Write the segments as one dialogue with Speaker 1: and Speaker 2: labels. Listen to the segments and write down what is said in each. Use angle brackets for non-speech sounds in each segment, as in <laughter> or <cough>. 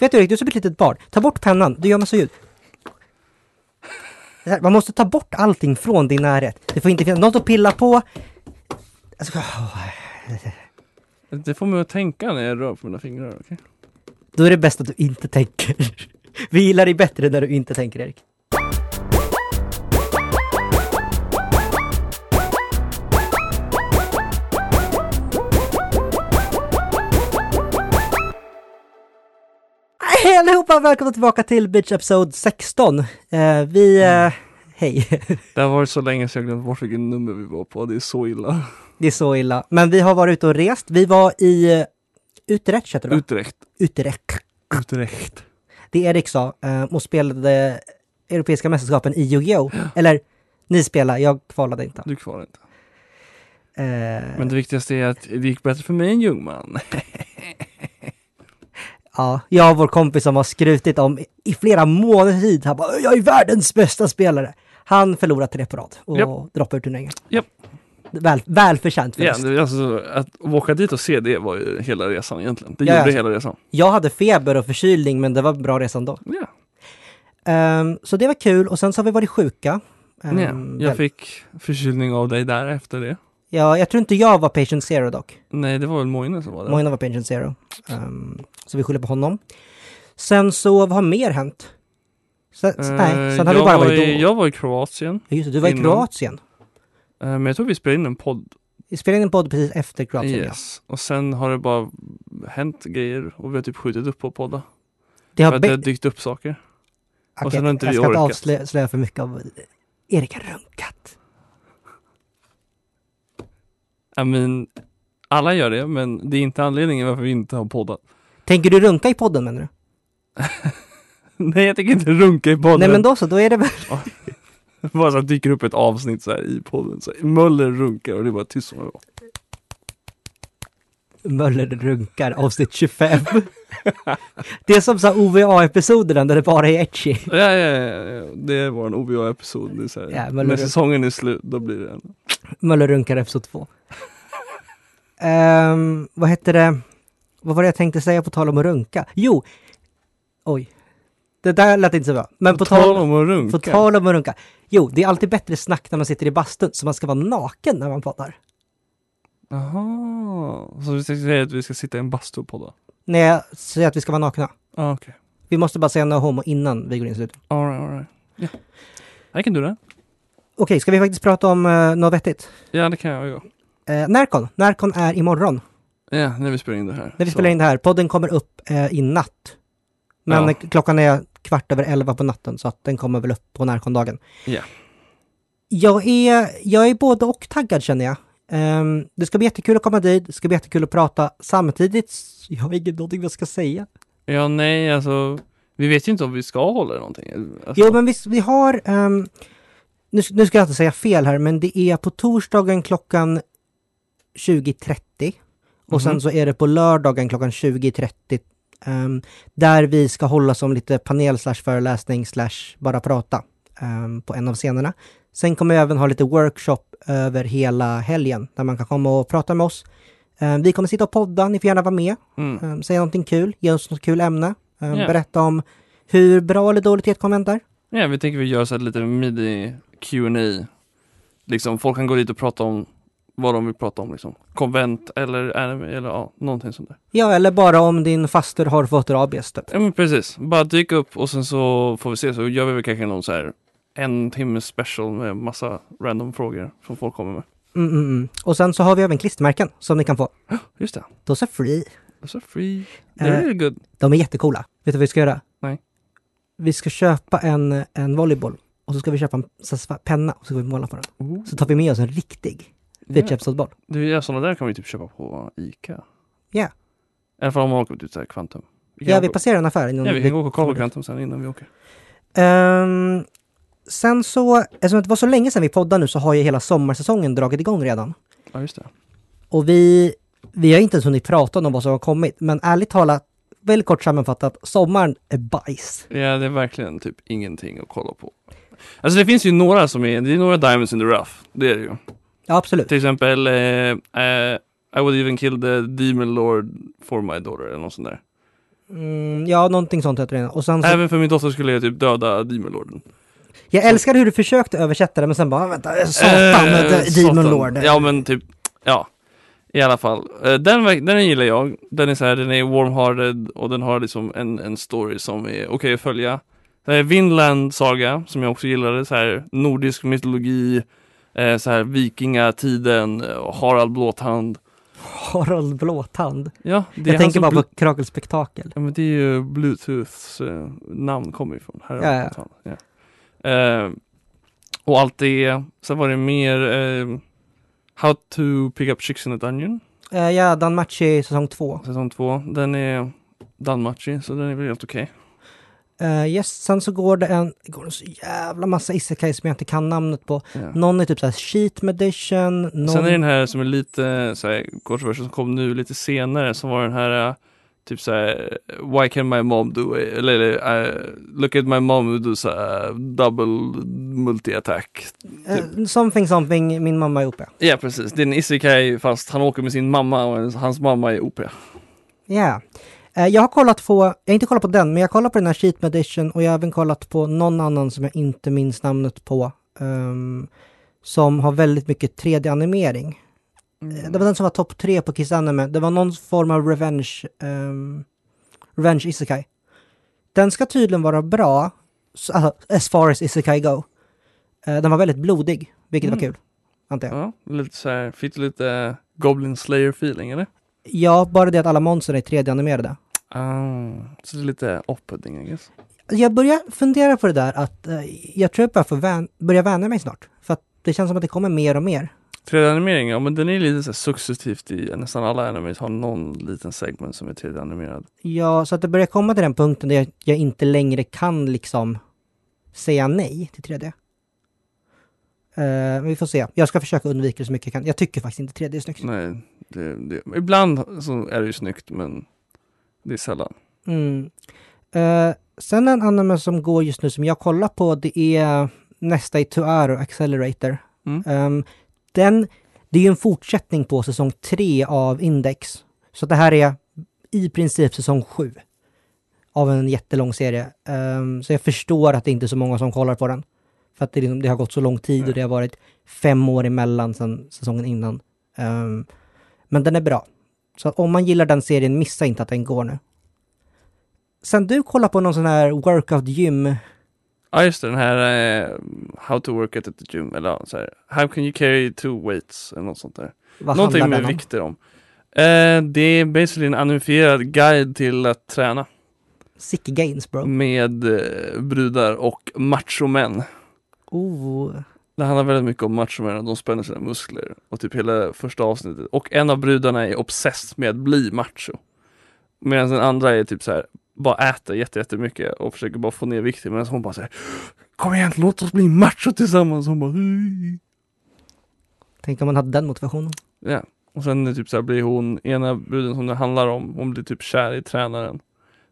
Speaker 1: Vet du Erik, du är som ett litet barn. Ta bort pennan, du gör massa ljud. Det här, Man måste ta bort allting från din närhet. Det får inte finnas något att pilla på. Alltså, åh.
Speaker 2: Det får mig att tänka när jag rör på mina fingrar, okej?
Speaker 1: Då är det bäst att du inte tänker. Vi gillar dig bättre när du inte tänker, Erik. Hej allihopa! Välkomna tillbaka till Beach Episode 16. Eh, vi... Eh, hej.
Speaker 2: Det har varit så länge så jag glömt bort vilket nummer vi var på, det är så illa.
Speaker 1: Det är så illa. Men vi har varit ute och rest. Vi var i... eh, Utrecht heter det va?
Speaker 2: Utrecht.
Speaker 1: Utrecht.
Speaker 2: Utrecht.
Speaker 1: det Erik sa eh, och spelade Europeiska mästerskapen i
Speaker 2: <gasps>
Speaker 1: Yu-Gi-Oh! Eller, ni spelade, jag kvalade inte.
Speaker 2: Du kvarar inte.
Speaker 1: Eh,
Speaker 2: Men det viktigaste är att det gick bättre för mig än Ljungman.
Speaker 1: ja, jag och vår kompis som har skrutit om i- i flera månader tid, han bara “Jag är världens bästa spelare!” Han förlorade tre på rad och
Speaker 2: Japp.
Speaker 1: droppade ur turneringen.
Speaker 2: Japp.
Speaker 1: Väl, välförtjänt
Speaker 2: Ja,
Speaker 1: förlust.
Speaker 2: det, alltså, att åka dit och se det var ju hela resan egentligen. Det
Speaker 1: Ja,
Speaker 2: gjorde
Speaker 1: ja.
Speaker 2: hela resan.
Speaker 1: Jag hade feber och förkylning, men det var en bra resa ändå.
Speaker 2: Ja.
Speaker 1: Ehm, så det var kul och sen så har vi varit sjuka. Ehm,
Speaker 2: ja. Jag
Speaker 1: väl-
Speaker 2: fick förkylning av dig där efter det.
Speaker 1: ja, jag tror inte jag var patient zero dock.
Speaker 2: Nej, det var väl Moine som var där.
Speaker 1: Mojna var patient zero. Ehm, så vi skyller på honom. Sen så, vad har mer hänt? Sen,
Speaker 2: Eh,
Speaker 1: nej, sen har
Speaker 2: jag
Speaker 1: vi bara
Speaker 2: var
Speaker 1: varit då.
Speaker 2: i, Jag var i Kroatien,
Speaker 1: Ja, Just det, du var i
Speaker 2: innan.
Speaker 1: Kroatien.
Speaker 2: eh, men jag tror vi spelade in en podd.
Speaker 1: Vi spelade in en podd precis efter Kroatien. Ja.
Speaker 2: Yes. Och sen har det bara hänt grejer och vi har typ skjutit upp på poddar.
Speaker 1: Det
Speaker 2: för
Speaker 1: har
Speaker 2: att det
Speaker 1: be-
Speaker 2: har dykt upp saker.
Speaker 1: Okej,
Speaker 2: och sen har inte
Speaker 1: jag
Speaker 2: vi
Speaker 1: ska inte
Speaker 2: orkat.
Speaker 1: avslöja för mycket av Erik har runkat.
Speaker 2: I mean, alla gör det, men det är inte anledningen varför vi inte har poddat. <laughs>
Speaker 1: Tänker du runka i podden menar du?
Speaker 2: Nej, jag tänker inte runka i podden.
Speaker 1: Nej men då så, då är det väl...
Speaker 2: <laughs> Bara så att dyker upp ett avsnitt så här i podden. Så här, Möller runkar och det är bara tyst som det var.
Speaker 1: Möller runkar avsnitt
Speaker 2: <laughs>
Speaker 1: 25. det är som så här OVA-episoderna där det bara är etchy.
Speaker 2: Ja, ja, ja, ja, det är vår OVA-episod. Det är så här,
Speaker 1: Ja, Möller
Speaker 2: när
Speaker 1: runkar.
Speaker 2: säsongen är slut, då blir det en.
Speaker 1: Möller runkar episod 2. <laughs> Ehm, vad hette det? Vad var det jag tänkte säga på tal om att runka? Jo! Oj. Det där lät inte så bra. Men på,
Speaker 2: tal
Speaker 1: tal,
Speaker 2: om att
Speaker 1: på
Speaker 2: runka.
Speaker 1: tal om att runka. Jo, det är alltid bättre snack när man sitter i bastun, så man ska vara naken när man pratar.
Speaker 2: Jaha, så du tänkte säga att vi ska sitta i en bastu och podda?
Speaker 1: När jag säger att vi ska vara nakna.
Speaker 2: Ah, Okej,
Speaker 1: Vi måste bara säga no homo innan vi går in i slutet.
Speaker 2: alright, alright. Yeah. I can do that.
Speaker 1: Okej, ska vi faktiskt prata om uh, något vettigt?
Speaker 2: Ja, det kan jag göra.
Speaker 1: Uh, Närcon. Närcon är imorgon.
Speaker 2: Ja, när vi spelar in det här.
Speaker 1: När vi
Speaker 2: Så-
Speaker 1: spelar in det här. Podden kommer upp eh, i natt. Men
Speaker 2: Ja.
Speaker 1: eh, klockan är kvart över elva på natten så att den kommer väl upp på närkondagen.
Speaker 2: Ja.
Speaker 1: Jag är, jag är både och taggad känner jag. Ehm, det ska bli jättekul att komma dit, det ska bli jättekul att prata. Samtidigt, s- jag har inget någonting jag ska säga.
Speaker 2: Ja, nej, alltså. Vi vet ju inte om vi ska hålla det någonting. Alltså,
Speaker 1: Jo, men vi, vi har... ehm, nu, s- nu ska jag inte säga fel här, men det är på torsdagen klockan 20.30. Och sen
Speaker 2: Mhm.
Speaker 1: så är det på lördagen klockan 20.30. ehm, där vi ska hålla som lite panel slash föreläsning slash bara prata ehm, på en av scenerna. Sen kommer jag även ha lite workshop över hela helgen där man kan komma och prata med oss. Ehm, vi kommer sitta och podda, ni får gärna vara med.
Speaker 2: Mm.
Speaker 1: Ehm, säga någonting kul, ge oss något kul ämne. Ehm,
Speaker 2: Ja.
Speaker 1: Berätta om hur bra eller dåligt ett konvent är.
Speaker 2: Ja, vi tänker vi gör så här lite midi Q&A Liksom, folk kan gå dit och prata om vad de vill prata om liksom. Konvent eller anime eller ja, någonting sånt där.
Speaker 1: Ja, eller bara om din faster har fått rabies typ.
Speaker 2: Ja men precis, bara dyka upp och sen så får vi se så gör vi väl kanske någon så här en timme special med massa random frågor som folk kommer med.
Speaker 1: Mm, mm, mm. Och sen så har vi även klistermärken som ni kan få.
Speaker 2: Just det,
Speaker 1: De är free.
Speaker 2: that's a free. Det
Speaker 1: Eh.
Speaker 2: är really good.
Speaker 1: De är jättecoola. Vet du vad vi ska göra?
Speaker 2: Nej.
Speaker 1: Vi ska köpa en, en volleyboll och så ska vi köpa en så svart penna och så ska vi måla på den.
Speaker 2: Ooh.
Speaker 1: Så tar vi med oss en riktig
Speaker 2: Ja.
Speaker 1: Fitch boll
Speaker 2: Du, ja, sådana där kan vi typ köpa på Ica.
Speaker 1: Ja.
Speaker 2: I alla fall om man åker ut så här Kvantum. kan
Speaker 1: Ja, vi
Speaker 2: gå-
Speaker 1: passerar en affär innan
Speaker 2: Ja, vi kan gå och kolla på Kvantum sen innan vi åker.
Speaker 1: Ehm, sen så, eftersom det var så länge sedan vi poddade nu så har ju hela sommarsäsongen dragit igång redan.
Speaker 2: Ja, just det.
Speaker 1: Och vi, vi har inte ens hunnit prata om vad som har kommit, men ärligt talat, väldigt kort sammanfattat, sommaren är bajs.
Speaker 2: Ja, det är verkligen typ ingenting att kolla på. Alltså det finns ju några som är, det är några diamonds in the rough. Det är det ju.
Speaker 1: Ja, absolut.
Speaker 2: Till exempel, eh, eh, I would even kill the demon lord for my daughter eller något sånt där.
Speaker 1: Mm, ja, någonting sånt heter det. Och sen så,
Speaker 2: Även för min dotter skulle jag typ döda Demonlorden.
Speaker 1: jag älskar hur du försökte översätta det, men sen bara, "Ah, vänta, satan,
Speaker 2: Eh,
Speaker 1: äh,
Speaker 2: satan.
Speaker 1: Demon Lord.
Speaker 2: Ja men typ, ja. I alla fall. Eh, Den, verk- den gillar jag. Den är så här, den är warm-hearted och den har liksom en, en story som är okej att följa. Det är Vinland Saga som jag också gillade, så här nordisk mytologi, eh, så här vikingatiden, eh, Harald Blåtand.
Speaker 1: Harald Blåtand.
Speaker 2: Ja, det är
Speaker 1: Jag
Speaker 2: han
Speaker 1: tänker
Speaker 2: som
Speaker 1: bara
Speaker 2: bl-
Speaker 1: på Krakelspektakel.
Speaker 2: Ja men det är ju Bluetooths eh, namn kommer ifrån. Här
Speaker 1: Ja, ja.
Speaker 2: ja. Eh, och allt det. Sen var det mer eh, How to pick up chicks in a dungeon.
Speaker 1: Eh, ja, Dan Machi säsong två.
Speaker 2: Säsong två. Den är Danmarchi så den är väl helt okej.
Speaker 1: Eh, yes, sen så går det en, går det en så jävla massa isekai som jag inte kan namnet på.
Speaker 2: Ja.
Speaker 1: Någon är typ såhär Sheet Medition, någon...
Speaker 2: Sen är den här som är lite eh, så här, kontroversiell som kom nu lite senare som var den här eh, typ så här Why can my mom do it? Eller, eller eh, Look at my mom who do så här, double multi-attack typ-
Speaker 1: eh, something something, min mamma är OP.
Speaker 2: Ja precis, det är en isekai fast han åker med sin mamma och hans mamma är OP.
Speaker 1: Ja. Eh, jag har kollat på, jag har inte kollat på den, men jag kollar på den här Sheet Medition och jag har även kollat på någon annan som jag inte minns namnet på. ehm, som har väldigt mycket 3D-animering. Eh, Det var den som var topp tre på Kiss Anime. Det var någon form av revenge, ehm, revenge isekai. Den ska tydligen vara bra, s- alltså, as far as isekai go. Eh, den var väldigt blodig, vilket var
Speaker 2: Mm.
Speaker 1: kul. Antar jag.
Speaker 2: Ja, lite så här, fick du lite eh, Goblin Slayer feeling eller?
Speaker 1: Ja, bara det att alla monster är 3D-animerade.
Speaker 2: Ah, så det är lite opputting I guess.
Speaker 1: Jag börjar fundera på det där att eh, jag tror jag bara får vän- börja vänja mig snart. För att det känns som att det kommer mer och mer.
Speaker 2: 3D-animering, ja men den är lite så här successivt i nästan alla animes har någon liten segment som är 3D-animerad.
Speaker 1: Ja, så att det börjar komma till den punkten där jag, jag inte längre kan liksom säga nej till 3D. Eh, men vi får se. Jag ska försöka undvika det så mycket jag kan. Jag tycker faktiskt inte 3D är snyggt.
Speaker 2: Nej, det, det, ibland så är det ju snyggt men det är sällan.
Speaker 1: Mm. Eh, sen en anime som går just nu som jag kollar på, det är nästa i Tuaro Accelerator.
Speaker 2: Mm.
Speaker 1: Ehm, den, det är ju en fortsättning på säsong tre av Index. Så det här är i princip säsong sju av en jättelång serie. Ehm, så jag förstår att det inte är så många som kollar på den. För att det, är liksom, det har gått så lång tid och det har varit fem år emellan sedan säsongen innan. Ehm, men den är bra. Så att om man gillar den serien, missa inte att den går nu. Sen du kollar på någon sån här workout gym,
Speaker 2: Ja ah, just det, den här eh, How to work out at the gym eller ja, så här, How can you carry two weights eller något sånt där.
Speaker 1: vad
Speaker 2: Någonting
Speaker 1: handlar
Speaker 2: med
Speaker 1: den om?
Speaker 2: vikter om. Eh, det är basically en anonifierad guide till att träna
Speaker 1: Sick gains
Speaker 2: Mm.
Speaker 1: bro.
Speaker 2: med eh, brudar och machomän.
Speaker 1: Oh.
Speaker 2: Det handlar väldigt mycket om machomän och de spänner sina muskler och typ hela första avsnittet. Och en av brudarna är obsessed med att bli macho. Medan den andra är typ så här bara äter jätte, jättemycket och försöker bara få ner vikten medan hon bara säger Kom igen, låt oss bli macho tillsammans! Hon bara "Hej."
Speaker 1: Tänk om man hade den motivationen.
Speaker 2: Ja, och sen är typ så här blir hon, ena bruden som det handlar om, hon blir typ kär i tränaren.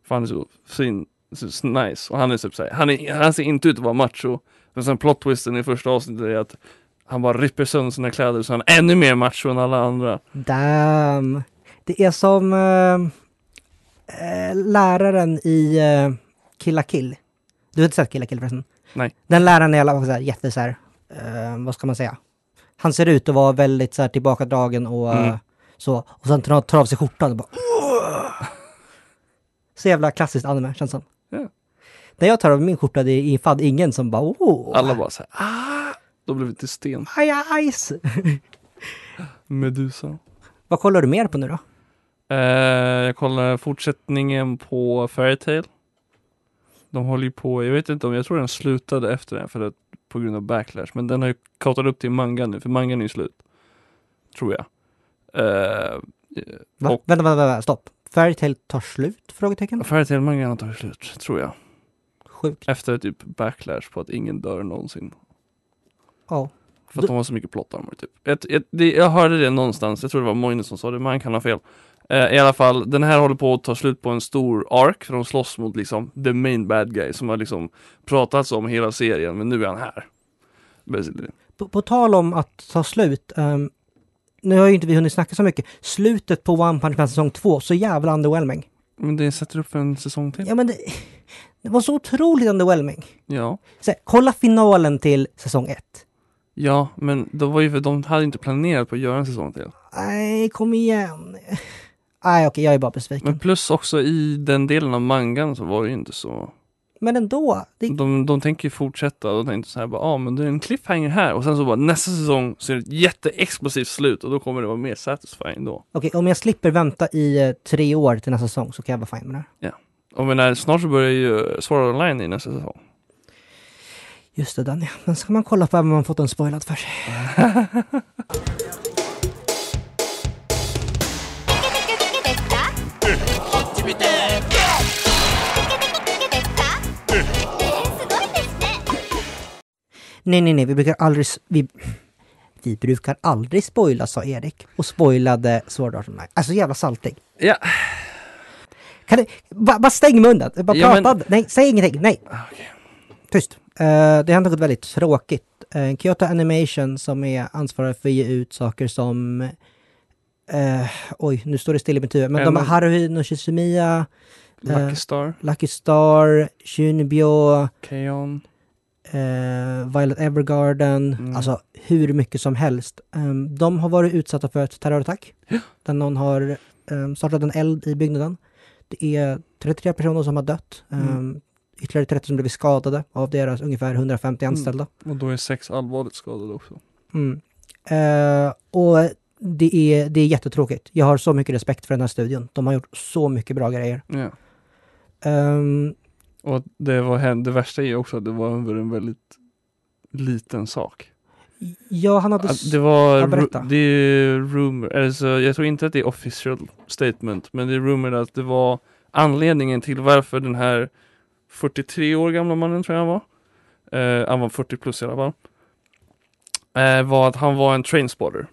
Speaker 2: För han är så fin, så så nice. Och han är typ så här, han, är, han ser inte ut att vara macho. Men sen plot twisten i första avsnittet är att han bara ripper sönder sina kläder så han är ännu mer macho än alla andra.
Speaker 1: Damn. Det är som eh, eh, läraren i eh, Killa Kill. Du har inte sett Killa Kill förresten?
Speaker 2: Nej.
Speaker 1: Den läraren är i alla fall så här, jätte så här, eh, vad ska man säga? Han ser ut att vara väldigt så här tillbakadragen och eh,
Speaker 2: Mm.
Speaker 1: så. Och sen tar, tar av sig skjortan och bara "Åh!" Så jävla klassiskt anime känns som.
Speaker 2: Ja.
Speaker 1: När jag tar av min skjorta det är fan ingen som bara åh,
Speaker 2: Alla bara så här, ah! Då blev det till sten.
Speaker 1: aj, aj, aj.
Speaker 2: Medusa.
Speaker 1: Vad kollar du mer på nu då?
Speaker 2: Eh, jag kollar fortsättningen på Fairytale. De håller ju på, jag vet inte om, jag tror den slutade efter den för att, på grund av backlash. Men den har ju kautat upp till manga nu, för mangan är ju slut. Tror jag. Eh,
Speaker 1: Va?
Speaker 2: Och-
Speaker 1: Vänta, vänta, vänta, stopp. Fairytale tar slut? Frågetecken.
Speaker 2: Fairytale-mangan har tagit slut, tror jag.
Speaker 1: Sjukt.
Speaker 2: Efter typ backlash på att ingen dör någonsin.
Speaker 1: Ja.
Speaker 2: För att de har så mycket plottarmar typ. Jag, jag, det, jag hörde det någonstans, jag tror det var Moine som sa det, men han kan ha fel. Eh, I alla fall, den här håller på att ta slut på en stor ark, för de slåss mot liksom the main bad guy som har liksom pratats om hela serien, men nu är han här. Basically.
Speaker 1: På, på tal om att ta slut. ehm, nu har ju inte vi hunnit snacka så mycket. Slutet på One Punch Man säsong 2, så jävla underwhelming.
Speaker 2: Men det sätter upp en säsong till.
Speaker 1: Ja, men det, <laughs> det var så otroligt underwhelming.
Speaker 2: Ja.
Speaker 1: Så här, kolla finalen till säsong ett.
Speaker 2: Ja, men det var ju för de hade inte planerat på att göra en säsong till.
Speaker 1: Nej, kom igen. <laughs> Nej, okej, jag är bara
Speaker 2: Men
Speaker 1: besviken.
Speaker 2: plus också i den delen av mangan så var det ju inte så.
Speaker 1: Men ändå. Det,
Speaker 2: De, de tänker ju fortsätta och de tänkte så här bara, ah, men det är en cliffhanger här och sen så bara nästa säsong så är det ett jätteexplosivt slut och då kommer det vara mer satisfying då.
Speaker 1: Okej, om jag slipper vänta i eh, tre år till nästa säsong så kan jag vara fine med det här.
Speaker 2: Och men när, snart så börjar ju Sword Online i nästa säsong.
Speaker 1: Just det, Daniel. <laughs> Men ska man kolla på även om man fått en spoilad för sig. Nej, nej, nej, vi brukar aldrig... s- Vi, vi brukar aldrig spoila, sa Erik. Och spoilade Sword Art Online. Alltså jävla saltig.
Speaker 2: Ja,
Speaker 1: Kan du, bara, bara stäng munnen! Bara
Speaker 2: Ja,
Speaker 1: prata!
Speaker 2: men-
Speaker 1: inte. Nej, säg ingenting! Nej!
Speaker 2: Ah,
Speaker 1: Tyst! Eh, det har hänt något väldigt tråkigt. Eh, Kyoto Animation som är ansvarig för att ge ut saker som... eh, oj, nu står det still i mitt huvud. Men de
Speaker 2: Ändå-
Speaker 1: har Haruhi no Shizumiya,
Speaker 2: Lucky Star,
Speaker 1: Lucky Star, Shunbyo,
Speaker 2: Kaon.
Speaker 1: eh, Violet Evergarden,
Speaker 2: Mm.
Speaker 1: alltså hur mycket som helst. Ehm, de har varit utsatta för ett terrorattack där någon har ehm, startat en eld i byggnaden. Det är 33 personer som har dött.
Speaker 2: Mm.
Speaker 1: Ehm, Ytterligare 30 som blivit skadade av deras ungefär
Speaker 2: Mm.
Speaker 1: 150 anställda.
Speaker 2: Och då är sex allvarligt skadade också.
Speaker 1: Mm. Eh, och det är, det är jättetråkigt. Jag har så mycket respekt för den här studion. De har gjort så mycket bra grejer.
Speaker 2: Ja.
Speaker 1: Ehm,
Speaker 2: Och att det, var, hem- det värsta är ju också att det var över en väldigt liten sak.
Speaker 1: ja, han hade...
Speaker 2: Att Alltså, det var,
Speaker 1: Ja, berätta.
Speaker 2: ru- det är rumor, alltså, jag tror inte att det är official statement, men det är rumor att det var anledningen till varför den här 43 år gamla mannen tror jag han var, eh, han var 40 plus i alla fall, eh, var att han var en trainspotter.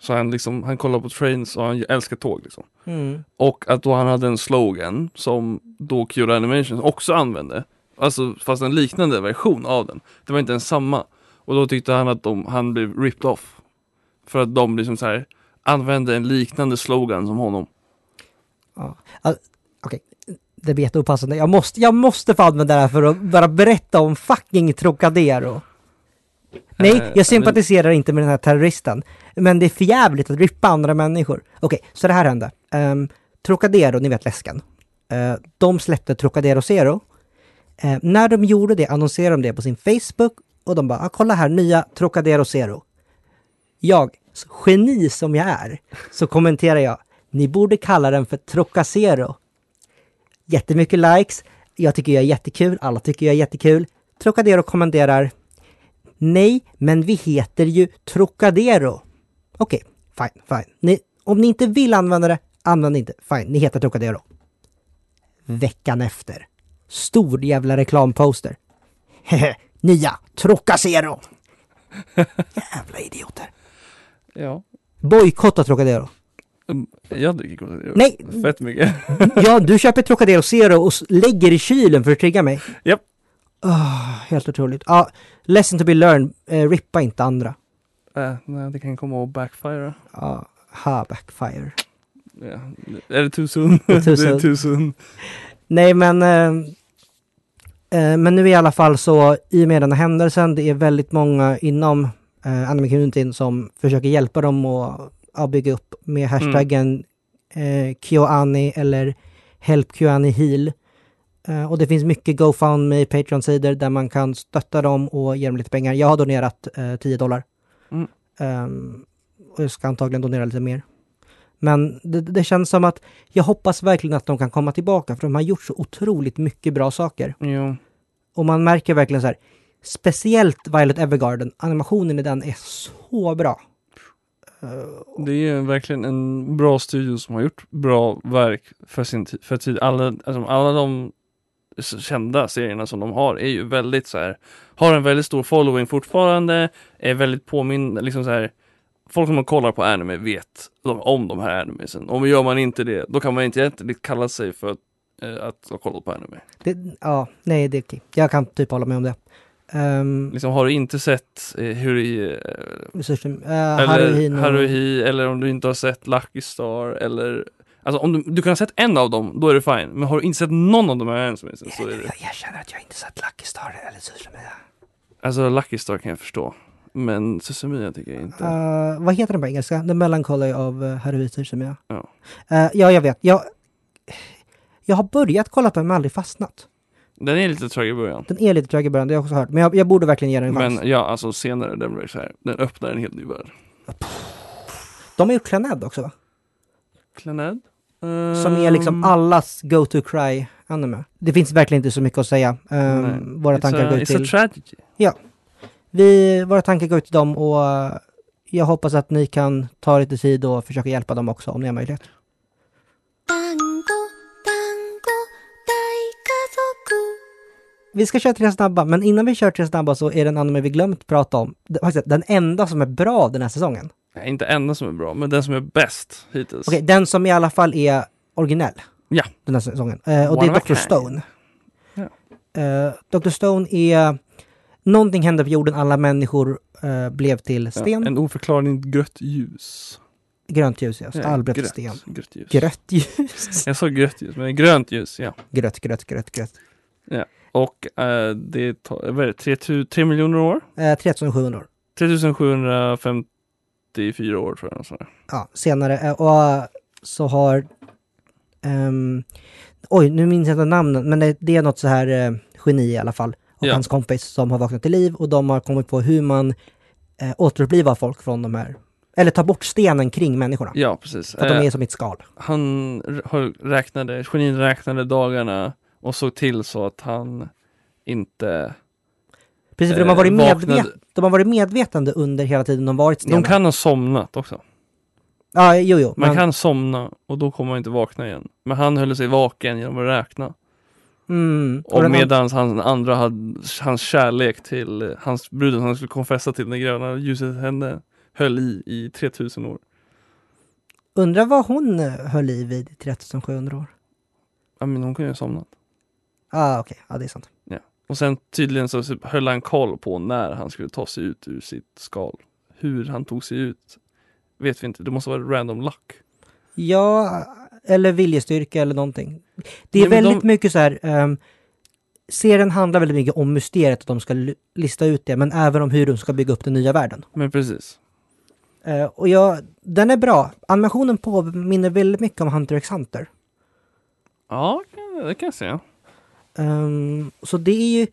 Speaker 2: Så han liksom, han kollade på trains och han älskar tåg liksom.
Speaker 1: Mm.
Speaker 2: Och att då han hade en slogan som då Cure Animation också använde. Alltså fast en liknande version av den. Det var inte ens samma. Och då tyckte han att de, han blev ripped off. För att de liksom så här använde en liknande slogan som honom.
Speaker 1: Ja. Alltså, Okej, det blir jätteopassande. Jag måste, jag måste få använda det här för att bara berätta om fucking Trocadero.
Speaker 2: Eh,
Speaker 1: Nej,
Speaker 2: men-
Speaker 1: jag sympatiserar inte med den här terroristen. Men det är för jävligt att rippa andra människor. Okej, så det här hände. Um, Trocadero, ni vet läsken. Eh, de släppte Trocadero Zero. Eh, när de gjorde det annonserade de det på sin Facebook och de bara, ah, kolla här, nya Trocadero Zero. Jag, så geni som jag är, så kommenterar jag, ni borde kalla den för Trocacero. Jättemycket likes, jag tycker jag är jättekul, alla tycker jag är jättekul. Trocadero kommenterar, nej, men vi heter ju Trocadero. Okej, fine, fine. Ni, om ni inte vill använda det, använd inte. Fine, ni heter Trocadero. Veckan efter, stor jävla reklamposter. Hehe, <laughs> nya Trocacero. <laughs> Jävla idioter.
Speaker 2: Ja.
Speaker 1: Bojkotta Trocadero.
Speaker 2: Mm, Jag dricker Cola
Speaker 1: Nej.
Speaker 2: Fett mycket. <laughs>
Speaker 1: Ja, du köper Trocadero Zero och s- lägger i kylen för att trigga mig.
Speaker 2: Japp.
Speaker 1: Ah, helt otroligt. Ja, lesson to be learned. Eh, rippa inte andra.
Speaker 2: Äh, nej, det kan komma att backfire.
Speaker 1: Ja, ha, backfire.
Speaker 2: Ja. Är det too soon?
Speaker 1: Det är too
Speaker 2: <laughs> det
Speaker 1: soon.
Speaker 2: är too soon.
Speaker 1: Nej, men... Eh, eh, men nu i alla fall så, i och med den här händelsen, det är väldigt många inom eh, anime-communityn som försöker hjälpa dem att ja, bygga upp med hashtaggen eh, KyoAni eller HelpKyoAniHeal. Eh, och det finns mycket GoFundMe, Patreon-sidor där man kan stötta dem och ge dem lite pengar. Jag har donerat eh, 10 dollar.
Speaker 2: Mm.
Speaker 1: Ehm, och jag ska antagligen donera lite mer. Men det, det känns som att jag hoppas verkligen att de kan komma tillbaka för de har gjort så otroligt mycket bra saker.
Speaker 2: Jo.
Speaker 1: Och man märker verkligen så här, speciellt Violet Evergarden, animationen i den är så bra. Eh,
Speaker 2: Det är ju verkligen en bra studio som har gjort bra verk för sin ti- för tid. Alla, alltså, alla de s- kända serierna som de har är ju väldigt så här, har en väldigt stor following fortfarande, är väldigt påminn, liksom så här, folk som man kollar på anime vet de, om de här animesen. Om gör man inte det, då kan man inte egentligen kalla sig för att, eh, att ha kollat på anime.
Speaker 1: Det, ja, nej, det är okej. Jag kan typ hålla med om det. Um,
Speaker 2: Liksom har du inte sett eh, hur
Speaker 1: resursen, uh,
Speaker 2: eller
Speaker 1: Haruhi,
Speaker 2: Haruhi, eller om du inte har sett Lucky Star, eller Alltså om du, du kan ha sett en av dem, då är det fine. Men har du inte sett någon av de här än som är så är det...
Speaker 1: Jag erkänner att jag inte sett Lucky Star eller Susumia.
Speaker 2: Alltså Lucky Star kan jag förstå. Men Susumia tycker jag inte.
Speaker 1: Uh, vad heter den på engelska? The Melancholy av uh, Haruhi Susumia.
Speaker 2: Ja.
Speaker 1: Eh, ja, jag vet. Jag, jag har börjat kolla på den men aldrig fastnat.
Speaker 2: Den är lite trög i början.
Speaker 1: Den är lite trög i början, det har jag också hört. Men jag, jag borde verkligen ge den en chans.
Speaker 2: Men ja, alltså senare den blir så här. Den öppnar en helt ny värld.
Speaker 1: De har gjort Clannad också va?
Speaker 2: Clannad?
Speaker 1: Som är liksom
Speaker 2: Eh, Mm.
Speaker 1: allas go-to-cry-anime. Det finns verkligen inte så mycket att säga. Ehm,
Speaker 2: Nej.
Speaker 1: våra tankar går
Speaker 2: it's a,
Speaker 1: ut
Speaker 2: it's a
Speaker 1: till...
Speaker 2: tragedy.
Speaker 1: Vi, våra tankar går ut till dem och eh, jag hoppas att ni kan ta lite tid och försöka hjälpa dem också om ni har möjlighet.
Speaker 3: 団子団子大家族
Speaker 1: Vi ska köra tre snabba, men innan vi kör tre snabba så är det en anime vi glömt prata om. Det- Faktiskt den enda som är bra den här säsongen.
Speaker 2: Nej, inte enda som är bra, men den som är bäst hittills.
Speaker 1: Okej, den som i alla fall är originell.
Speaker 2: Ja.
Speaker 1: Den här säsongen. Eh, och
Speaker 2: One
Speaker 1: det är
Speaker 2: of a
Speaker 1: Dr.
Speaker 2: kind.
Speaker 1: Stone.
Speaker 2: Ja.
Speaker 1: Eh, Dr. Stone är... Någonting hände på jorden, alla människor eh, blev till sten.
Speaker 2: Ja, en oförklarligt grött ljus.
Speaker 1: Grönt ljus, ja.
Speaker 2: Nej,
Speaker 1: Albert
Speaker 2: grött,
Speaker 1: Sten.
Speaker 2: Grött ljus.
Speaker 1: Grött ljus. <laughs>
Speaker 2: Jag sa grött ljus, men grönt ljus, ja.
Speaker 1: grött, grött, grött, grött.
Speaker 2: Och eh, det tar, vad är det, 3, 3 miljoner år?
Speaker 1: Eh, 3700 år.
Speaker 2: 3754 år tror jag. något sånt där.
Speaker 1: Ja, senare. Eh, och eh, så har... ehm, oj, nu minns jag inte namnen, men det, det är något så här eh, geni i alla fall. Och
Speaker 2: Ja.
Speaker 1: hans kompis som har vaknat till liv och de har kommit på hur man eh, återupplivar folk från de här... Eller ta bort stenen kring människorna.
Speaker 2: Ja, precis.
Speaker 1: För att
Speaker 2: Eh,
Speaker 1: de är som ett skal.
Speaker 2: han r- höll- räknade, genin räknade dagarna och såg till så att han inte...
Speaker 1: Precis, för de har
Speaker 2: eh,
Speaker 1: varit, medvet-
Speaker 2: vaknade.
Speaker 1: de har varit medvetande under hela tiden de varit stenar.
Speaker 2: De kan ha somnat också.
Speaker 1: Ja, jo, jo.
Speaker 2: Man
Speaker 1: men-
Speaker 2: kan somna och då kommer man inte vakna igen. Men han höll sig vaken genom att räkna.
Speaker 1: Mm, och
Speaker 2: Och
Speaker 1: den-
Speaker 2: medans han andra hade hans kärlek till eh, hans brud som han skulle konfessa till när gröna ljuset hände höll i i 3000 år.
Speaker 1: Undrar vad hon eh, höll i vid i 3700 år.
Speaker 2: Ja men hon kunde ju ha somnat.
Speaker 1: Ah, okej. Ja, det är sant.
Speaker 2: Och sen tydligen så höll han koll på när han skulle ta sig ut ur sitt skal. Hur han tog sig ut vet vi inte. Det måste vara random luck.
Speaker 1: Ja, eller viljestyrka eller någonting. Det är
Speaker 2: Nej, men
Speaker 1: väldigt
Speaker 2: de-
Speaker 1: mycket så här... ehm, serien handlar väldigt mycket om mysteriet, att de ska li- lista ut det, men även om hur de ska bygga upp den nya världen.
Speaker 2: Men precis.
Speaker 1: Eh, och jag, den är bra. Animationen påminner väldigt mycket om Hunter x Hunter.
Speaker 2: Ja, kan- det kan jag säga.
Speaker 1: Ehm, så det är ju,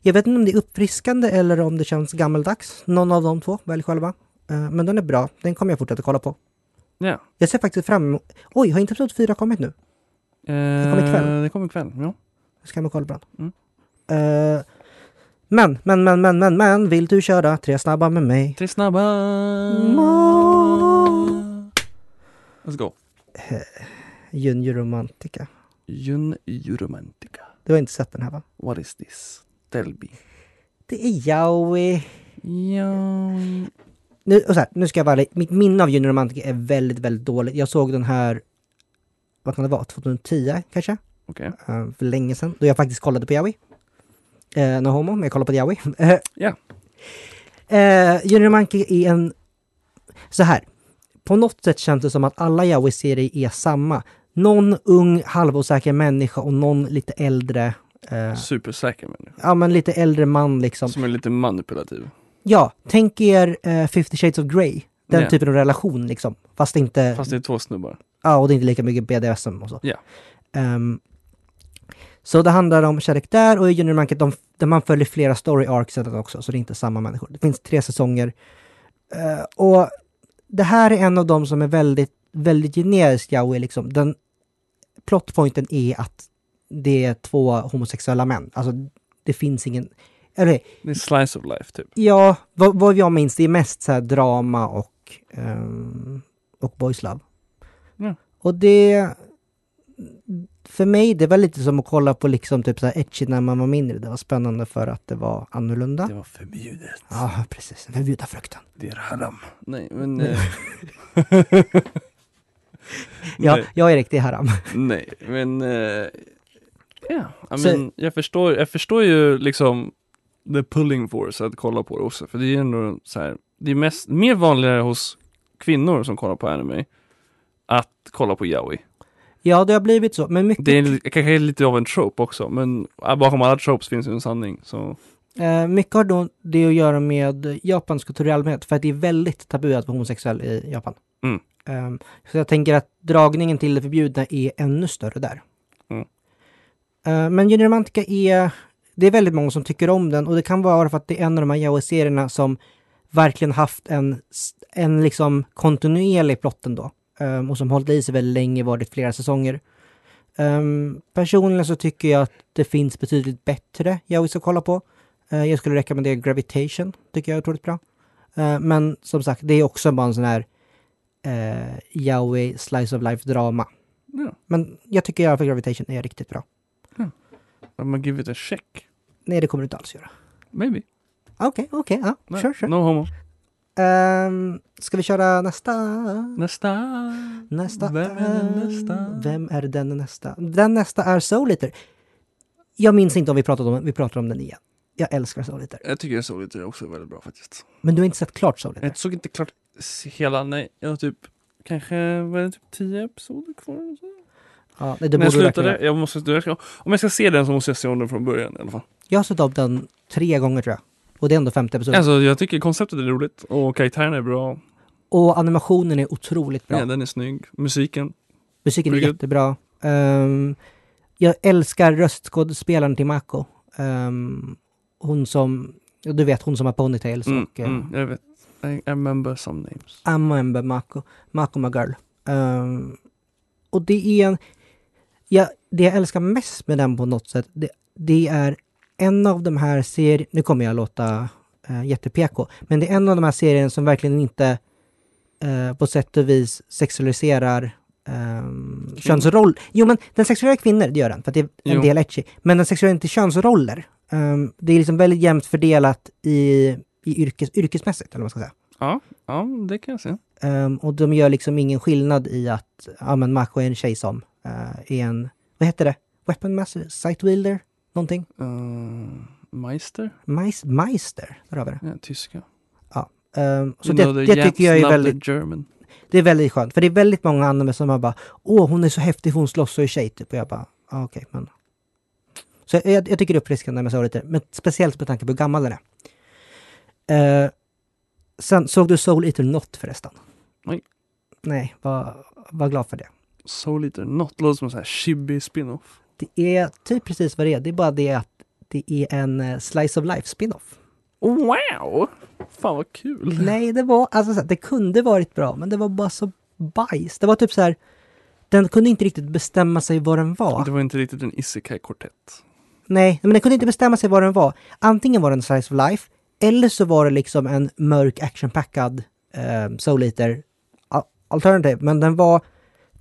Speaker 1: jag vet inte om det är uppfriskande eller om det känns gammeldags. Någon av de två, välj själva. Eh, men den är bra, den kommer jag fortsätta kolla på.
Speaker 2: Ja.
Speaker 1: Jag ser faktiskt fram emot... Oj, har inte episod 4 kommit nu?
Speaker 2: Eh,
Speaker 1: kommer ikväll.
Speaker 2: Det kommer ikväll, ja.
Speaker 1: Jag ska man kolla på den.
Speaker 2: Mm.
Speaker 1: Eh, men, men, men, men, men, men, vill du köra tre snabba med mig?
Speaker 2: Tre snabba.
Speaker 1: Ma-
Speaker 2: Let's go.
Speaker 1: Junior Romantica.
Speaker 2: Jun Juromantica.
Speaker 1: Du har inte sett den här va?
Speaker 2: What is this? Tell me.
Speaker 1: Det är Yaoi.
Speaker 2: Ja.
Speaker 1: Nu, och så här, nu ska jag vara ärlig. mitt minne av Junior Romantica är väldigt, väldigt dåligt. Jag såg den här, vad kan det vara, 2010 kanske?
Speaker 2: Okej.
Speaker 1: eh, för länge sedan, då jag faktiskt kollade på Yaoi. Eh, no homo, men jag kollade på Yaoi. Eh,
Speaker 2: Ja.
Speaker 1: Eh, Junior Monkey är en... Så här. På något sätt känns det som att alla Yaoi-serier är samma. Någon ung, halvosäker människa och någon lite äldre... Eh,
Speaker 2: Supersäker människa.
Speaker 1: ja, men lite äldre man liksom.
Speaker 2: Som är lite manipulativ.
Speaker 1: Ja, tänk er eh, 50 shades of Grey. Den
Speaker 2: Ja.
Speaker 1: typen av relation liksom. Fast inte...
Speaker 2: Fast det är två snubbar.
Speaker 1: Ja, och det är inte lika mycket BDSM och så.
Speaker 2: Ja.
Speaker 1: Ehm, så det handlar om kärlek där och i Junior Manket, de, där man följer flera story arcs sedan också, så det är inte samma människor. Det finns tre säsonger. Eh, och det här är en av dem som är väldigt, väldigt generisk yaoi liksom. Den plotpointen är att det är två homosexuella män. Alltså, det finns ingen... Eller
Speaker 2: Det är slice of life typ.
Speaker 1: Ja, vad, vad jag minns, det är mest så här drama och, ehm, och boys love.
Speaker 2: Ja.
Speaker 1: Och det... För mig, det var lite som att kolla på liksom typ så här etchy när man var mindre. Det var spännande för att det var annorlunda.
Speaker 2: Det var förbjudet.
Speaker 1: Ja, precis. Förbjuda frukten.
Speaker 2: Det är haram. Nej, men...
Speaker 1: Nej.
Speaker 2: eh,
Speaker 1: Ja,
Speaker 2: Nej,
Speaker 1: jag är riktigt haram.
Speaker 2: <laughs> nej, men... eh, Ja, I
Speaker 1: Så-
Speaker 2: mean, jag, förstår, jag förstår ju liksom the pulling force att kolla på det också. För det är ju ändå så här, det är mest, mer vanligare hos kvinnor som kollar på anime att kolla på yaoi.
Speaker 1: Ja, det har blivit så, men mycket,
Speaker 2: Det är li- kanske är lite av en trope också, men äh, bakom alla tropes finns ju en sanning. Så
Speaker 1: eh, mycket har då det att göra med japansk kultur i allmänhet, för att det är väldigt tabu att vara homosexuell i Japan.
Speaker 2: Mm.
Speaker 1: Ehm, så jag tänker att dragningen till det förbjudna är ännu större där.
Speaker 2: Mm.
Speaker 1: Eh, men Junior Romantica är, det är väldigt många som tycker om den och det kan vara för att det är en av de här yaoi-serierna som verkligen haft en, s- en liksom kontinuerlig plott ändå. Ehm, och som hållit i sig väldigt länge, varit flera säsonger. Ehm, personligen så tycker jag att det finns betydligt bättre yaois att kolla på. Eh, jag skulle rekommendera Gravitation, tycker jag är otroligt bra. Eh, men som sagt, det är också bara en sån här eh, yaoi slice of life-drama.
Speaker 2: ja,
Speaker 1: Men jag tycker i alla fall Gravitation är riktigt bra.
Speaker 2: I'm gonna give it a check.
Speaker 1: Nej, det kommer du inte alls göra.
Speaker 2: Maybe.
Speaker 1: Okej, okej, ja.
Speaker 2: Nej,
Speaker 1: Sure, sure.
Speaker 2: No homo.
Speaker 1: Ehm, ska vi köra nästa?
Speaker 2: Nästa.
Speaker 1: Nästa.
Speaker 2: Vem är den nästa?
Speaker 1: Vem är den nästa? Den nästa är Soul Eater. Jag minns inte om vi pratade om den, vi pratar om den igen. Jag älskar Soul Eater.
Speaker 2: Jag tycker Soul Eater är också väldigt bra faktiskt.
Speaker 1: Men du har inte sett klart Soul Eater?
Speaker 2: Jag såg inte klart s- hela, nej. Jag har typ kanske, var det typ tio episoder kvar? eller så?
Speaker 1: Ja, nej, det
Speaker 2: När jag
Speaker 1: borde du verkligen
Speaker 2: slutade,
Speaker 1: göra.
Speaker 2: jag måste, jag ska, om jag ska se den så måste jag se om den från början i alla fall.
Speaker 1: Jag har sett upp den tre gånger tror jag. Och det är ändå femte episoden.
Speaker 2: Alltså jag tycker konceptet är roligt och karaktärerna är bra.
Speaker 1: Och animationen är otroligt bra.
Speaker 2: Ja, den är snygg. Musiken.
Speaker 1: Musiken är
Speaker 2: Pretty good.
Speaker 1: jättebra. Ehm, jag älskar röstskådespelaren till Mako. Ehm, hon som, ja, du vet hon som har ponytails
Speaker 2: Mm,
Speaker 1: och eh,
Speaker 2: mm, jag vet. I, I remember some names.
Speaker 1: Amembe Mako, Mako my girl. Ehm, och det är en... Ja, det jag älskar mest med den på något sätt, det, det är en av de här serierna... Nu kommer jag låta uh, jätte-PK, men det är en av de här serierna som verkligen inte eh, på sätt och vis sexualiserar um, könsroll. Jo, men den sexualiserar kvinnor, det gör den, för att det är en
Speaker 2: Jo.
Speaker 1: del etchy. Men den sexualiserar inte könsroller. Ehm, det är liksom väldigt jämnt fördelat i, i yrkes, yrkesmässigt, eller vad man ska säga.
Speaker 2: Ja, ja, det kan jag se.
Speaker 1: Ehm, och de gör liksom ingen skillnad i att, ja men Mako är en tjej som eh, är en, vad heter det? Weapon Master? Sight Wielder? Någonting?
Speaker 2: Uh, Meister?
Speaker 1: Meis, Meister? Där har vi det.
Speaker 2: Ja, tyska.
Speaker 1: Ehm, så
Speaker 2: You
Speaker 1: det,
Speaker 2: know the
Speaker 1: det tycker jag
Speaker 2: Japs
Speaker 1: är
Speaker 2: love the
Speaker 1: väldigt,
Speaker 2: German.
Speaker 1: det är väldigt skönt. För det är väldigt många anime som har bara, åh hon är så häftig, hon slåss och är tjej typ. Och jag bara, ah, okej men. Så jag- jag, jag tycker det är uppfriskande med så lite, men speciellt med tanke på hur gammal den är. Eh, sen, såg du Soul Eater Not förresten?
Speaker 2: Nej.
Speaker 1: Nej, var, var glad för det.
Speaker 2: Soul Eater Not låter som en sån här chibi spin-off.
Speaker 1: Det är typ precis vad det är. Det är bara det att det är en eh, slice of life spin-off.
Speaker 2: Wow! Fan vad kul!
Speaker 1: Nej, det var, alltså så här, det kunde varit bra, men det var bara så bajs. Det var typ så här, den kunde inte riktigt bestämma sig vad den var.
Speaker 2: Det var inte riktigt en isekai-kortett.
Speaker 1: Nej, men den kunde inte bestämma sig vad den var. Antingen var den slice of life, eller så var det liksom en mörk actionpackad eh, soul eater al- alternative. Men den var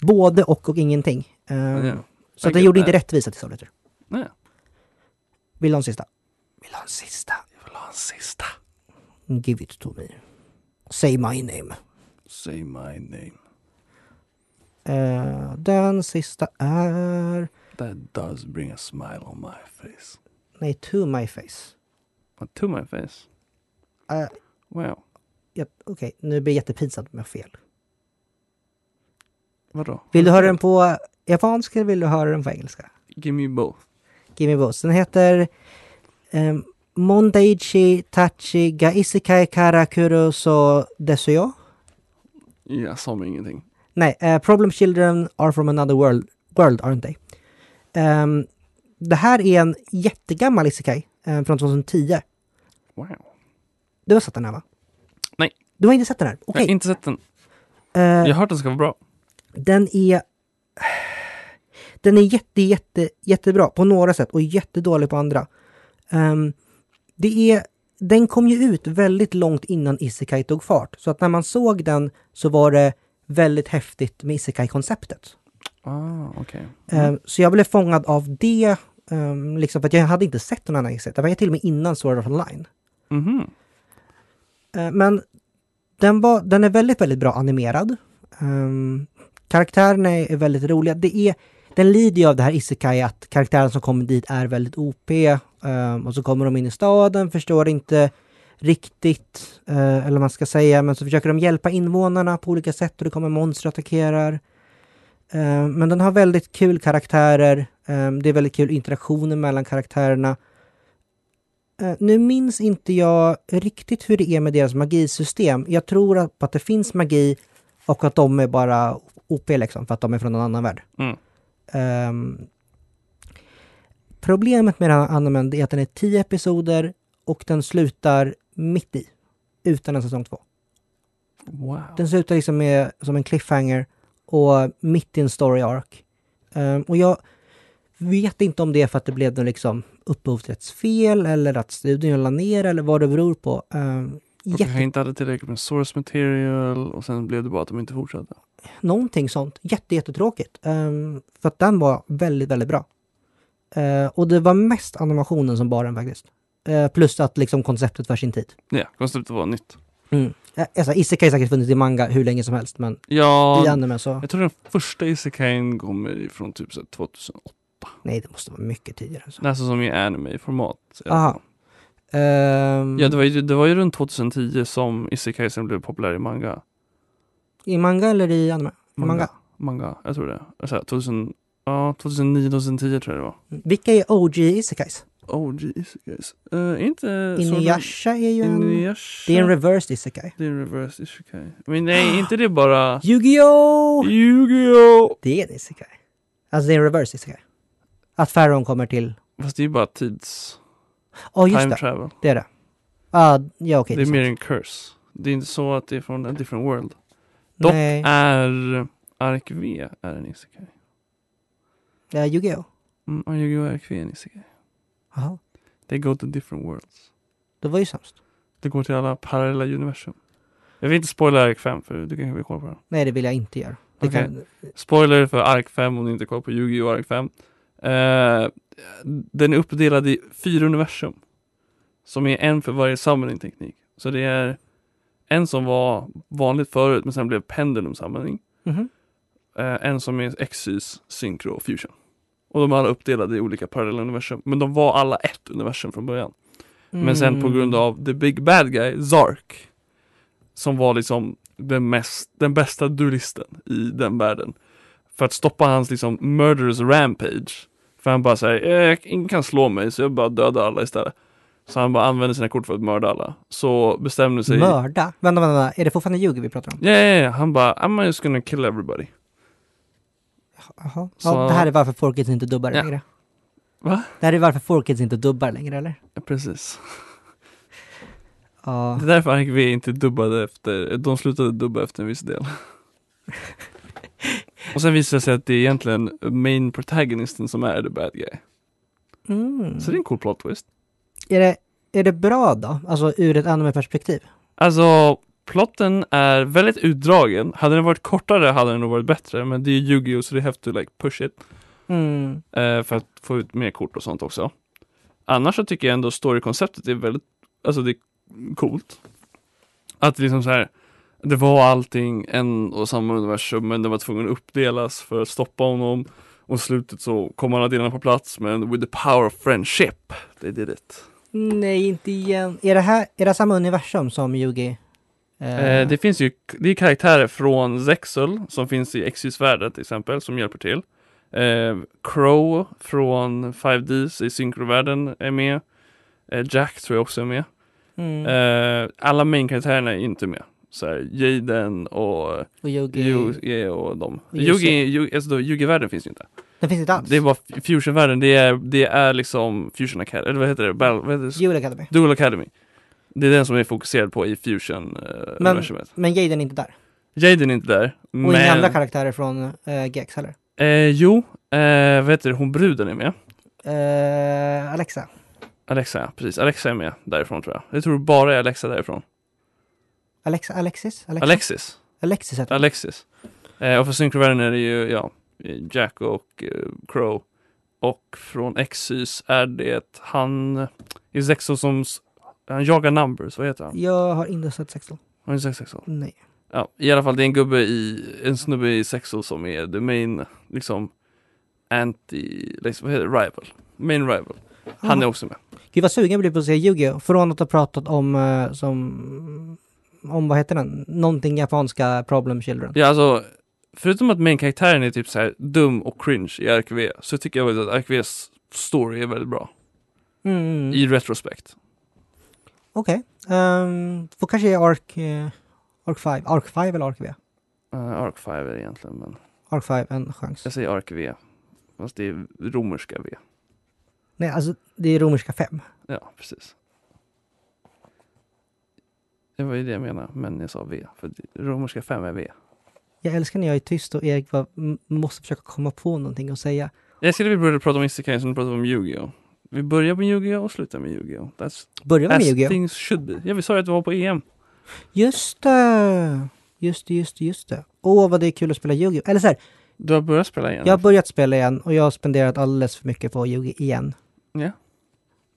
Speaker 1: både och och ingenting. Eh,
Speaker 2: Ja.
Speaker 1: Så
Speaker 2: I
Speaker 1: den
Speaker 2: get
Speaker 1: gjorde inte
Speaker 2: that.
Speaker 1: rättvisa till soul eater.
Speaker 2: Nej,
Speaker 1: Vill du ha en sista? Vill du ha en sista?
Speaker 2: jag vill ha en sista.
Speaker 1: Give it to me. Say my name.
Speaker 2: Say my name.
Speaker 1: Eh, den sista är...
Speaker 2: That does bring a smile on my face.
Speaker 1: Nej, to my face.
Speaker 2: Uh, to my face?
Speaker 1: Eh,
Speaker 2: Wow.
Speaker 1: ja, Okej, nu blir jag jättepinsamt om jag har fel.
Speaker 2: Vadå?
Speaker 1: Vill du höra den på japanska eller vill du höra den på engelska?
Speaker 2: Give me both.
Speaker 1: Give me both. Den heter um, Mondaichi Tachi ga isekai karakuru so desu yo.
Speaker 2: Jag sa mig ingenting.
Speaker 1: Nej, eh, Problem Children are from another world, world aren't they? Ehm, det här är en jättegammal isekai eh, från 2010.
Speaker 2: Wow.
Speaker 1: Du har sett den här va?
Speaker 2: Nej.
Speaker 1: Du har inte sett den här?
Speaker 2: Jag har
Speaker 1: Okej.
Speaker 2: inte sett den.
Speaker 1: Eh,
Speaker 2: Jag har hört den ska vara bra.
Speaker 1: Den är... Den är jätte, jätte, jättebra på några sätt och jättedålig på andra. Ehm, det är... Den kom ju ut väldigt långt innan Isekai tog fart. Så att när man såg den så var det väldigt häftigt med Isekai-konceptet.
Speaker 2: Ah, okej.
Speaker 1: Ehm, Så jag blev fångad av det, ehm, liksom för att jag hade inte sett någon annan Isekai. Det var ju till och med innan Sword Art Online.
Speaker 2: Mhm.
Speaker 1: Eh, Men den, var, den är väldigt, väldigt bra animerad. Ehm, karaktärerna är väldigt roliga. Det är, den lider ju av det här isekai att karaktären som kommer dit är väldigt OP ehm, och så kommer de in i staden, förstår inte riktigt, eh, eller vad man ska säga, men så försöker de hjälpa invånarna på olika sätt och det kommer monster och attackerar. Eh, Men den har väldigt kul karaktärer. Eh, Det är väldigt kul interaktioner mellan karaktärerna. Eh, Nu minns inte jag riktigt hur det är med deras magisystem. Jag tror att- på att det finns magi och att de är bara OP liksom, för att de är från en annan värld.
Speaker 2: Mm.
Speaker 1: Ehm, problemet med den här animen är att den är tio episoder och den slutar mitt i, utan en säsong två.
Speaker 2: Wow.
Speaker 1: Den slutar liksom med, som en cliffhanger och mitt i en story arc. Ehm, och jag vet inte om det är för att det blev något liksom upphovsrättsfel eller att studion la ner eller vad det beror på. Um,
Speaker 2: De kanske inte hade tillräckligt med source material och sen blev det bara att de inte fortsatte.
Speaker 1: någonting sånt. Jätte, jättetråkigt. Um, för att den var väldigt, väldigt bra. Eh, och det var mest animationen som bar den faktiskt. Eh, plus att liksom konceptet för sin tid.
Speaker 2: Ja, konceptet var nytt.
Speaker 1: Mm. Uh, alltså, Isekai har säkert funnits i manga hur länge som helst, men
Speaker 2: Ja,
Speaker 1: i anime så...
Speaker 2: jag tror den första isekain kommer ifrån typ så här 2008.
Speaker 1: Nej, det måste vara mycket tidigare. än Så.
Speaker 2: Alltså som är anime-format. i alla
Speaker 1: Aha.
Speaker 2: fall.
Speaker 1: Ehm,
Speaker 2: Typ. Ja, det var, ju, det var ju runt 2010 som isekai sen blev populär i manga.
Speaker 1: I manga eller i anime? I manga.
Speaker 2: Manga, jag tror det. Alltså, 2000, ja, 2009, 2010 tror jag det var. Oh,
Speaker 1: Mm. Vilka är OG Isekais?
Speaker 2: OG isekais. Uh, inte...
Speaker 1: Inuyasha är ju en...
Speaker 2: Inuyasha.
Speaker 1: Det är en reversed Isekai.
Speaker 2: det är en reverse isekai.
Speaker 1: <gasps>
Speaker 2: Men nej, inte det bara...
Speaker 1: Yu-Gi-Oh!
Speaker 2: Yu-Gi-Oh!
Speaker 1: Det är en Isekai. Alltså det är en reversed Isekai. Att Pharaon kommer till...
Speaker 2: Fast det är ju bara tids...
Speaker 1: Ja, just
Speaker 2: time
Speaker 1: det.
Speaker 2: travel.
Speaker 1: Det är det. Ah, ja, okej.
Speaker 2: det är
Speaker 1: sant.
Speaker 2: mer en curse. Det är inte så att det är från en different world. dock
Speaker 1: Nej,
Speaker 2: Är Ark V är en isekai?
Speaker 1: det är Yu-Gi-Oh!
Speaker 2: Mm, ja, Yu-Gi-Oh! Ark V är en isekai.
Speaker 1: Jaha,
Speaker 2: They go to different worlds.
Speaker 1: det var ju sämst.
Speaker 2: Det går till alla parallella universum. Jag vill inte spoila Ark 5 för du kanske vill kolla på den.
Speaker 1: Nej, det vill jag inte göra. Det
Speaker 2: Okej.
Speaker 1: kan...
Speaker 2: Spoiler för Ark 5 om ni inte kollar på Yu-Gi-Oh! Ark 5. Eh, den är uppdelad i fyra universum. Som är en för varje summoning-teknik. Så det är en som var vanligt förut men sen blev pendulum summoning.
Speaker 1: Mhm.
Speaker 2: Eh, en som är exys, synkro och fusion. Och de är alla uppdelade i olika parallella universum. Men de var alla ett universum från början. Men sen på
Speaker 1: Mm.
Speaker 2: grund av the big bad guy, Zark. Som var liksom den, mest, den bästa duellisten i den världen. För att stoppa hans liksom murderous rampage. För han bara säger, "Eh, ingen kan slå mig så jag bara dödar alla istället. Så han bara använder sina kort för att mörda alla. Så bestämde sig...
Speaker 1: Mm. Mörda? Vänta, vänta, vänta. Är det fortfarande Yu-Gi vi pratar om?
Speaker 2: Ja, ja, ja. han bara, I'm just gonna kill everybody.
Speaker 1: Jaha.
Speaker 2: Så-
Speaker 1: Ja, det här är varför Forkids inte dubbar
Speaker 2: Ja.
Speaker 1: längre.
Speaker 2: Va?
Speaker 1: Det här är varför Forkids inte dubbar längre, eller?
Speaker 2: Ja, precis.
Speaker 1: Ja.
Speaker 2: Det är därför Hank V inte dubbade efter, de slutade dubba efter en viss del. Och sen visar det sig att det är egentligen main protagonisten som är the bad guy.
Speaker 1: Mm.
Speaker 2: Så det är en cool plot twist.
Speaker 1: Är, det, är det bra då? Alltså ur ett anime-perspektiv?
Speaker 2: Alltså, plotten är väldigt utdragen. Hade den varit kortare hade den nog varit bättre, men det är ju Yu-Gi-Oh! så det have to like push it.
Speaker 1: Mm.
Speaker 2: Eh, för att få ut mer kort och sånt också. Annars så tycker jag ändå storykonceptet är väldigt, alltså det är coolt. Att det liksom så här, det var allting en och samma universum men det var tvungen att uppdelas för att stoppa honom. Och i slutet så kom alla delarna på plats men with the power of friendship, they did it.
Speaker 1: Nej, inte igen. Är det här, är det samma universum som Yu-Gi? Eh,
Speaker 2: Eh, det finns ju, det är karaktärer från Zexel som finns i Exys-världen till exempel som hjälper till. Eh, Crow från 5Ds i synkrovärlden är med. Eh, Jack tror jag också är med.
Speaker 1: mm.
Speaker 2: Eh, alla main-karaktärerna är inte med. Så här, Jaden och
Speaker 1: och Yu-Gi?
Speaker 2: Yugi och dem.
Speaker 1: Och Yugi.
Speaker 2: Yugi, Yugi, alltså då, Yugi-världen finns ju inte.
Speaker 1: Den finns inte alls?
Speaker 2: Det är bara f- fusion-världen, det är, det är liksom Fusion Academy, eller vad heter det? Battle, vad heter det?
Speaker 1: Jewel Academy.
Speaker 2: Dual Academy. Det är den som är fokuserad på i eh, fusion-universumet.
Speaker 1: Men Jaden är inte där.
Speaker 2: Jaden är inte där.
Speaker 1: Och inga andra
Speaker 2: Men,
Speaker 1: karaktärer från eh, GX heller.
Speaker 2: eh, jo, eh, vad heter det, hon bruden är med.
Speaker 1: Eh, Alexa.
Speaker 2: Alexa, precis. Alexa är med därifrån tror jag. Jag tror bara är Alexa därifrån.
Speaker 1: Alexa, Alexis? Alexa?
Speaker 2: Alexis.
Speaker 1: Alexis heter hon.
Speaker 2: Alexis. Eh, och för synkrovärlden är det ju, ja, Jack och eh, Crow. Och från Exys är det han i Sexo som, s- han jagar numbers, vad heter han?
Speaker 1: Jag har inte sett Sexton.
Speaker 2: Har ni sett Sexo?
Speaker 1: Nej.
Speaker 2: Ja, i alla fall det är en gubbe i, en snubbe i Sexo som är the main, liksom, anti, liksom, vad heter det, rival. Main rival. Han är också med.
Speaker 1: Gud vad sugen jag blir på att se Yu-Gi-Oh! Från att ha pratat om, eh, som, om vad heter den? Någonting japanska problem children.
Speaker 2: Ja, alltså, förutom att main-karaktären är typ så här dum och cringe i RKV, så tycker jag faktiskt att RKVs story är väldigt bra.
Speaker 1: Mm.
Speaker 2: I retrospekt.
Speaker 1: Okej. Ehm, får kanske ge Ark, eh, Ark 5, Ark 5 eller Ark V?
Speaker 2: Uh, Ark 5 är det egentligen, men
Speaker 1: Ark 5 en chans.
Speaker 2: jag säger Ark V. Fast det är romerska V.
Speaker 1: Nej, alltså det är romerska 5.
Speaker 2: Ja, precis. Det var ju det jag menade, men jag sa V. För romerska 5 är V.
Speaker 1: Jag älskar när jag är tyst och Erik bara, m- måste försöka komma på någonting och säga.
Speaker 2: Jag skulle vi började prata om Isekai som du pratade om Yu-Gi-Oh! Vi börjar med Yu-Gi-Oh! och slutar med Yu-Gi-Oh! That's
Speaker 1: Börja med
Speaker 2: as
Speaker 1: Yu-Gi-Oh!
Speaker 2: things should be. Ja, vi sa ju att vi var på E EM.
Speaker 1: Just det! Just det, just det, just det. Åh, vad det är kul att spela Yu-Gi-Oh! Eller så här,
Speaker 2: Du har börjat spela igen?
Speaker 1: jag har börjat spela igen och jag har spenderat alldeles för mycket på Yu-Gi igen.
Speaker 2: Ja,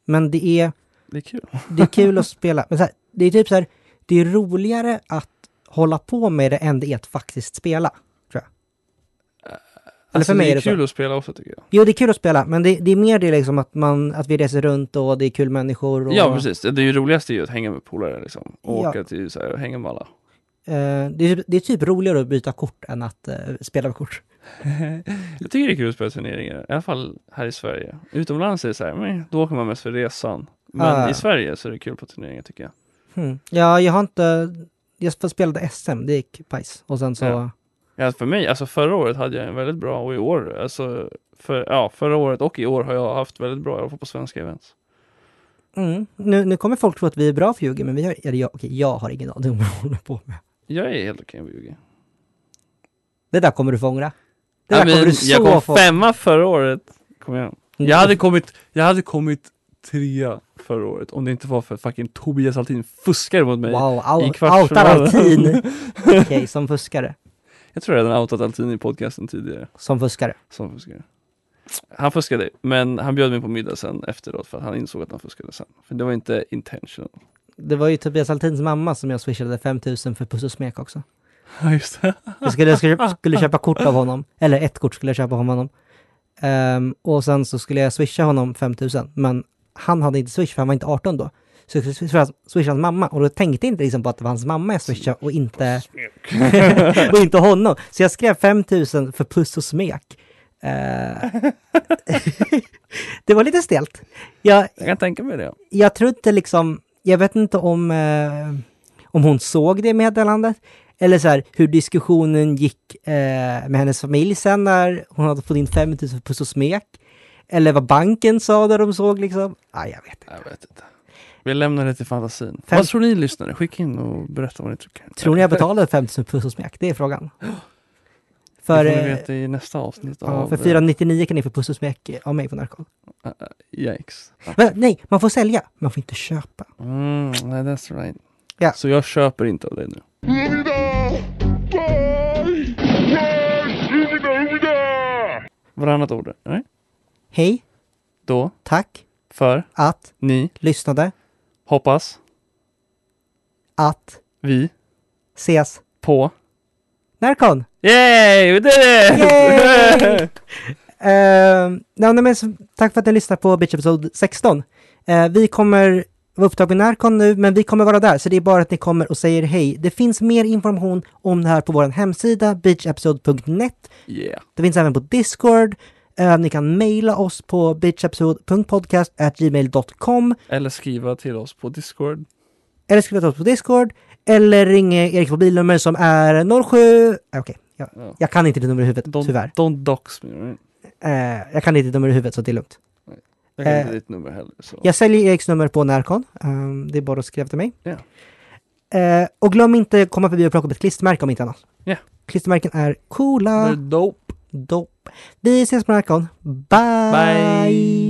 Speaker 1: Men det är,
Speaker 2: det är kul.
Speaker 1: det är kul att <laughs> spela. Men så här, det är typ så här, det är roligare att hålla på med det än det är att faktiskt spela. Tror jag. Eller för mig är
Speaker 2: Alltså,
Speaker 1: det
Speaker 2: det är kul
Speaker 1: så.
Speaker 2: att spela också tycker jag.
Speaker 1: Jo, det är kul att spela, men det, det är mer det liksom att, man, att vi reser runt och det är kul människor. Och,
Speaker 2: Ja, precis. Det är ju roligaste är ju att hänga med polare liksom. Och
Speaker 1: Ja.
Speaker 2: åka till så här, hänga med alla.
Speaker 1: Eh, det, är, typ- det är typ roligare att byta kort än att eh, spela med kort.
Speaker 2: Jag tycker det är kul att spela turneringar, i alla fall här i Sverige. Utomlands är det så här, men då åker man mest för resan. Men
Speaker 1: Ah.
Speaker 2: i Sverige så är det kul på turneringar tycker jag.
Speaker 1: Hmm. Ja, jag har inte... Jag spelade SM, det gick pajs. Och sen så...
Speaker 2: Ja. Ja, för mig, alltså förra året hade jag en väldigt bra och i år, alltså för, ja, förra året och i år har jag haft väldigt bra, jag var på svenska events.
Speaker 1: Mm. Nu, nu kommer folk tro att vi är bra för Yugi, men vi har... Eller jag, okej, jag har ingen aning om vad jag håller på med.
Speaker 2: Jag är helt okej med Yugi.
Speaker 1: Det där kommer du få ångra. Det där
Speaker 2: Ja, men
Speaker 1: kommer du så
Speaker 2: jag kom
Speaker 1: få...
Speaker 2: femma förra året. Kom igen.
Speaker 1: Mm.
Speaker 2: Jag hade kommit, jag hade kommit trea förra året om det inte var för att fucking Tobias Altin fuskade mot mig.
Speaker 1: Wow,
Speaker 2: i
Speaker 1: out, outar
Speaker 2: kvartsfinalen.
Speaker 1: Altin!
Speaker 2: <laughs>
Speaker 1: Okej, som fuskare.
Speaker 2: Jag tror jag redan outat Altin i podcasten tidigare.
Speaker 1: Som fuskare.
Speaker 2: Som fuskare. Han fuskade, men han bjöd mig på middag sen efteråt för att han insåg att han fuskade sen. För det var inte
Speaker 1: <laughs>
Speaker 2: intentional.
Speaker 1: Det var ju Tobias Altins mamma som jag swishade 5000 för puss och smek också.
Speaker 2: Ja, just det.
Speaker 1: Jag skulle, jag skulle, skulle köpa kort av honom, eller ett kort skulle jag köpa av honom. Ehm, och sen så skulle jag swisha honom 5000, men han hade inte swish för han var inte 18 då. Så jag skulle swisha hans- swisha hans mamma och då tänkte jag inte liksom på att det var hans mamma jag swishade och inte, <laughs> och inte honom. Så jag skrev 5000 för puss och smek. Ehm, <laughs> det var lite stelt. Jag,
Speaker 2: Jag kan tänka mig det.
Speaker 1: jag tror inte liksom, jag vet inte om, eh, om hon såg det meddelandet. Eller så här, hur diskussionen gick eh, med hennes familj sen när hon hade fått in 5000 puss och smek. Eller vad banken sa där de såg liksom. Ah, jag vet inte.
Speaker 2: Jag vet inte. Vi lämnar det till fantasin.
Speaker 1: Fem-
Speaker 2: Vad tror ni lyssnare? Skicka in och berätta vad ni tycker.
Speaker 1: Tror ni jag betalade 5000 puss och smek? Det är frågan. För,
Speaker 2: För, det får ni
Speaker 1: eh,
Speaker 2: veta i nästa avsnitt
Speaker 1: ja,
Speaker 2: av...
Speaker 1: för 499 kan ni få puss och smek av mig på Narkon.
Speaker 2: eh, eh, Yikes.
Speaker 1: Men, nej, man får sälja, man får inte köpa.
Speaker 2: Mm, nej, that's right.
Speaker 1: Ja.
Speaker 2: Så jag köper inte av dig nu. Varannat ord, nej?
Speaker 1: Hej,
Speaker 2: Då,
Speaker 1: tack
Speaker 2: för,
Speaker 1: att
Speaker 2: ni,
Speaker 1: lyssnade,
Speaker 2: hoppas,
Speaker 1: att
Speaker 2: vi,
Speaker 1: ses.
Speaker 2: på...
Speaker 1: Narkon!
Speaker 2: Yay! We did it!
Speaker 1: Yay! Uh, nej, men, så, tack för att ni lyssnar på Bitch Episode 16. Eh, vi kommer vara upptagna i Närcon nu, men vi kommer vara där, så det är bara att ni kommer och säger hej. Det finns mer information om det här på vår hemsida, beachepisode.net.
Speaker 2: <laughs> yeah.
Speaker 1: Det finns även på Discord. Eh, ni kan mejla oss på beachepisode.podcast.gmail.com
Speaker 2: Eller skriva till oss på Discord.
Speaker 1: eller skriva till oss på Discord eller ringa Erik på bilnummer som är 07... Okej, jag,
Speaker 2: Ja.
Speaker 1: jag kan inte det numret i huvudet,
Speaker 2: Don't,
Speaker 1: tyvärr.
Speaker 2: Don't dox me. right?
Speaker 1: Eh, jag kan inte det numret i huvudet, så det är lugnt.
Speaker 2: Jag kan
Speaker 1: Eh,
Speaker 2: inte ditt nummer heller. Så.
Speaker 1: Jag säljer Eriks nummer på Närcon. Ehm, det är bara att skriva till mig.
Speaker 2: Ja.
Speaker 1: Eh, och glöm inte komma förbi och plocka upp ett klistermärke om inte annat.
Speaker 2: Ja. Mm.
Speaker 1: Klistermärken är coola.
Speaker 2: They're dope.
Speaker 1: Dope. Vi ses på Närcon. Bye!
Speaker 2: Bye.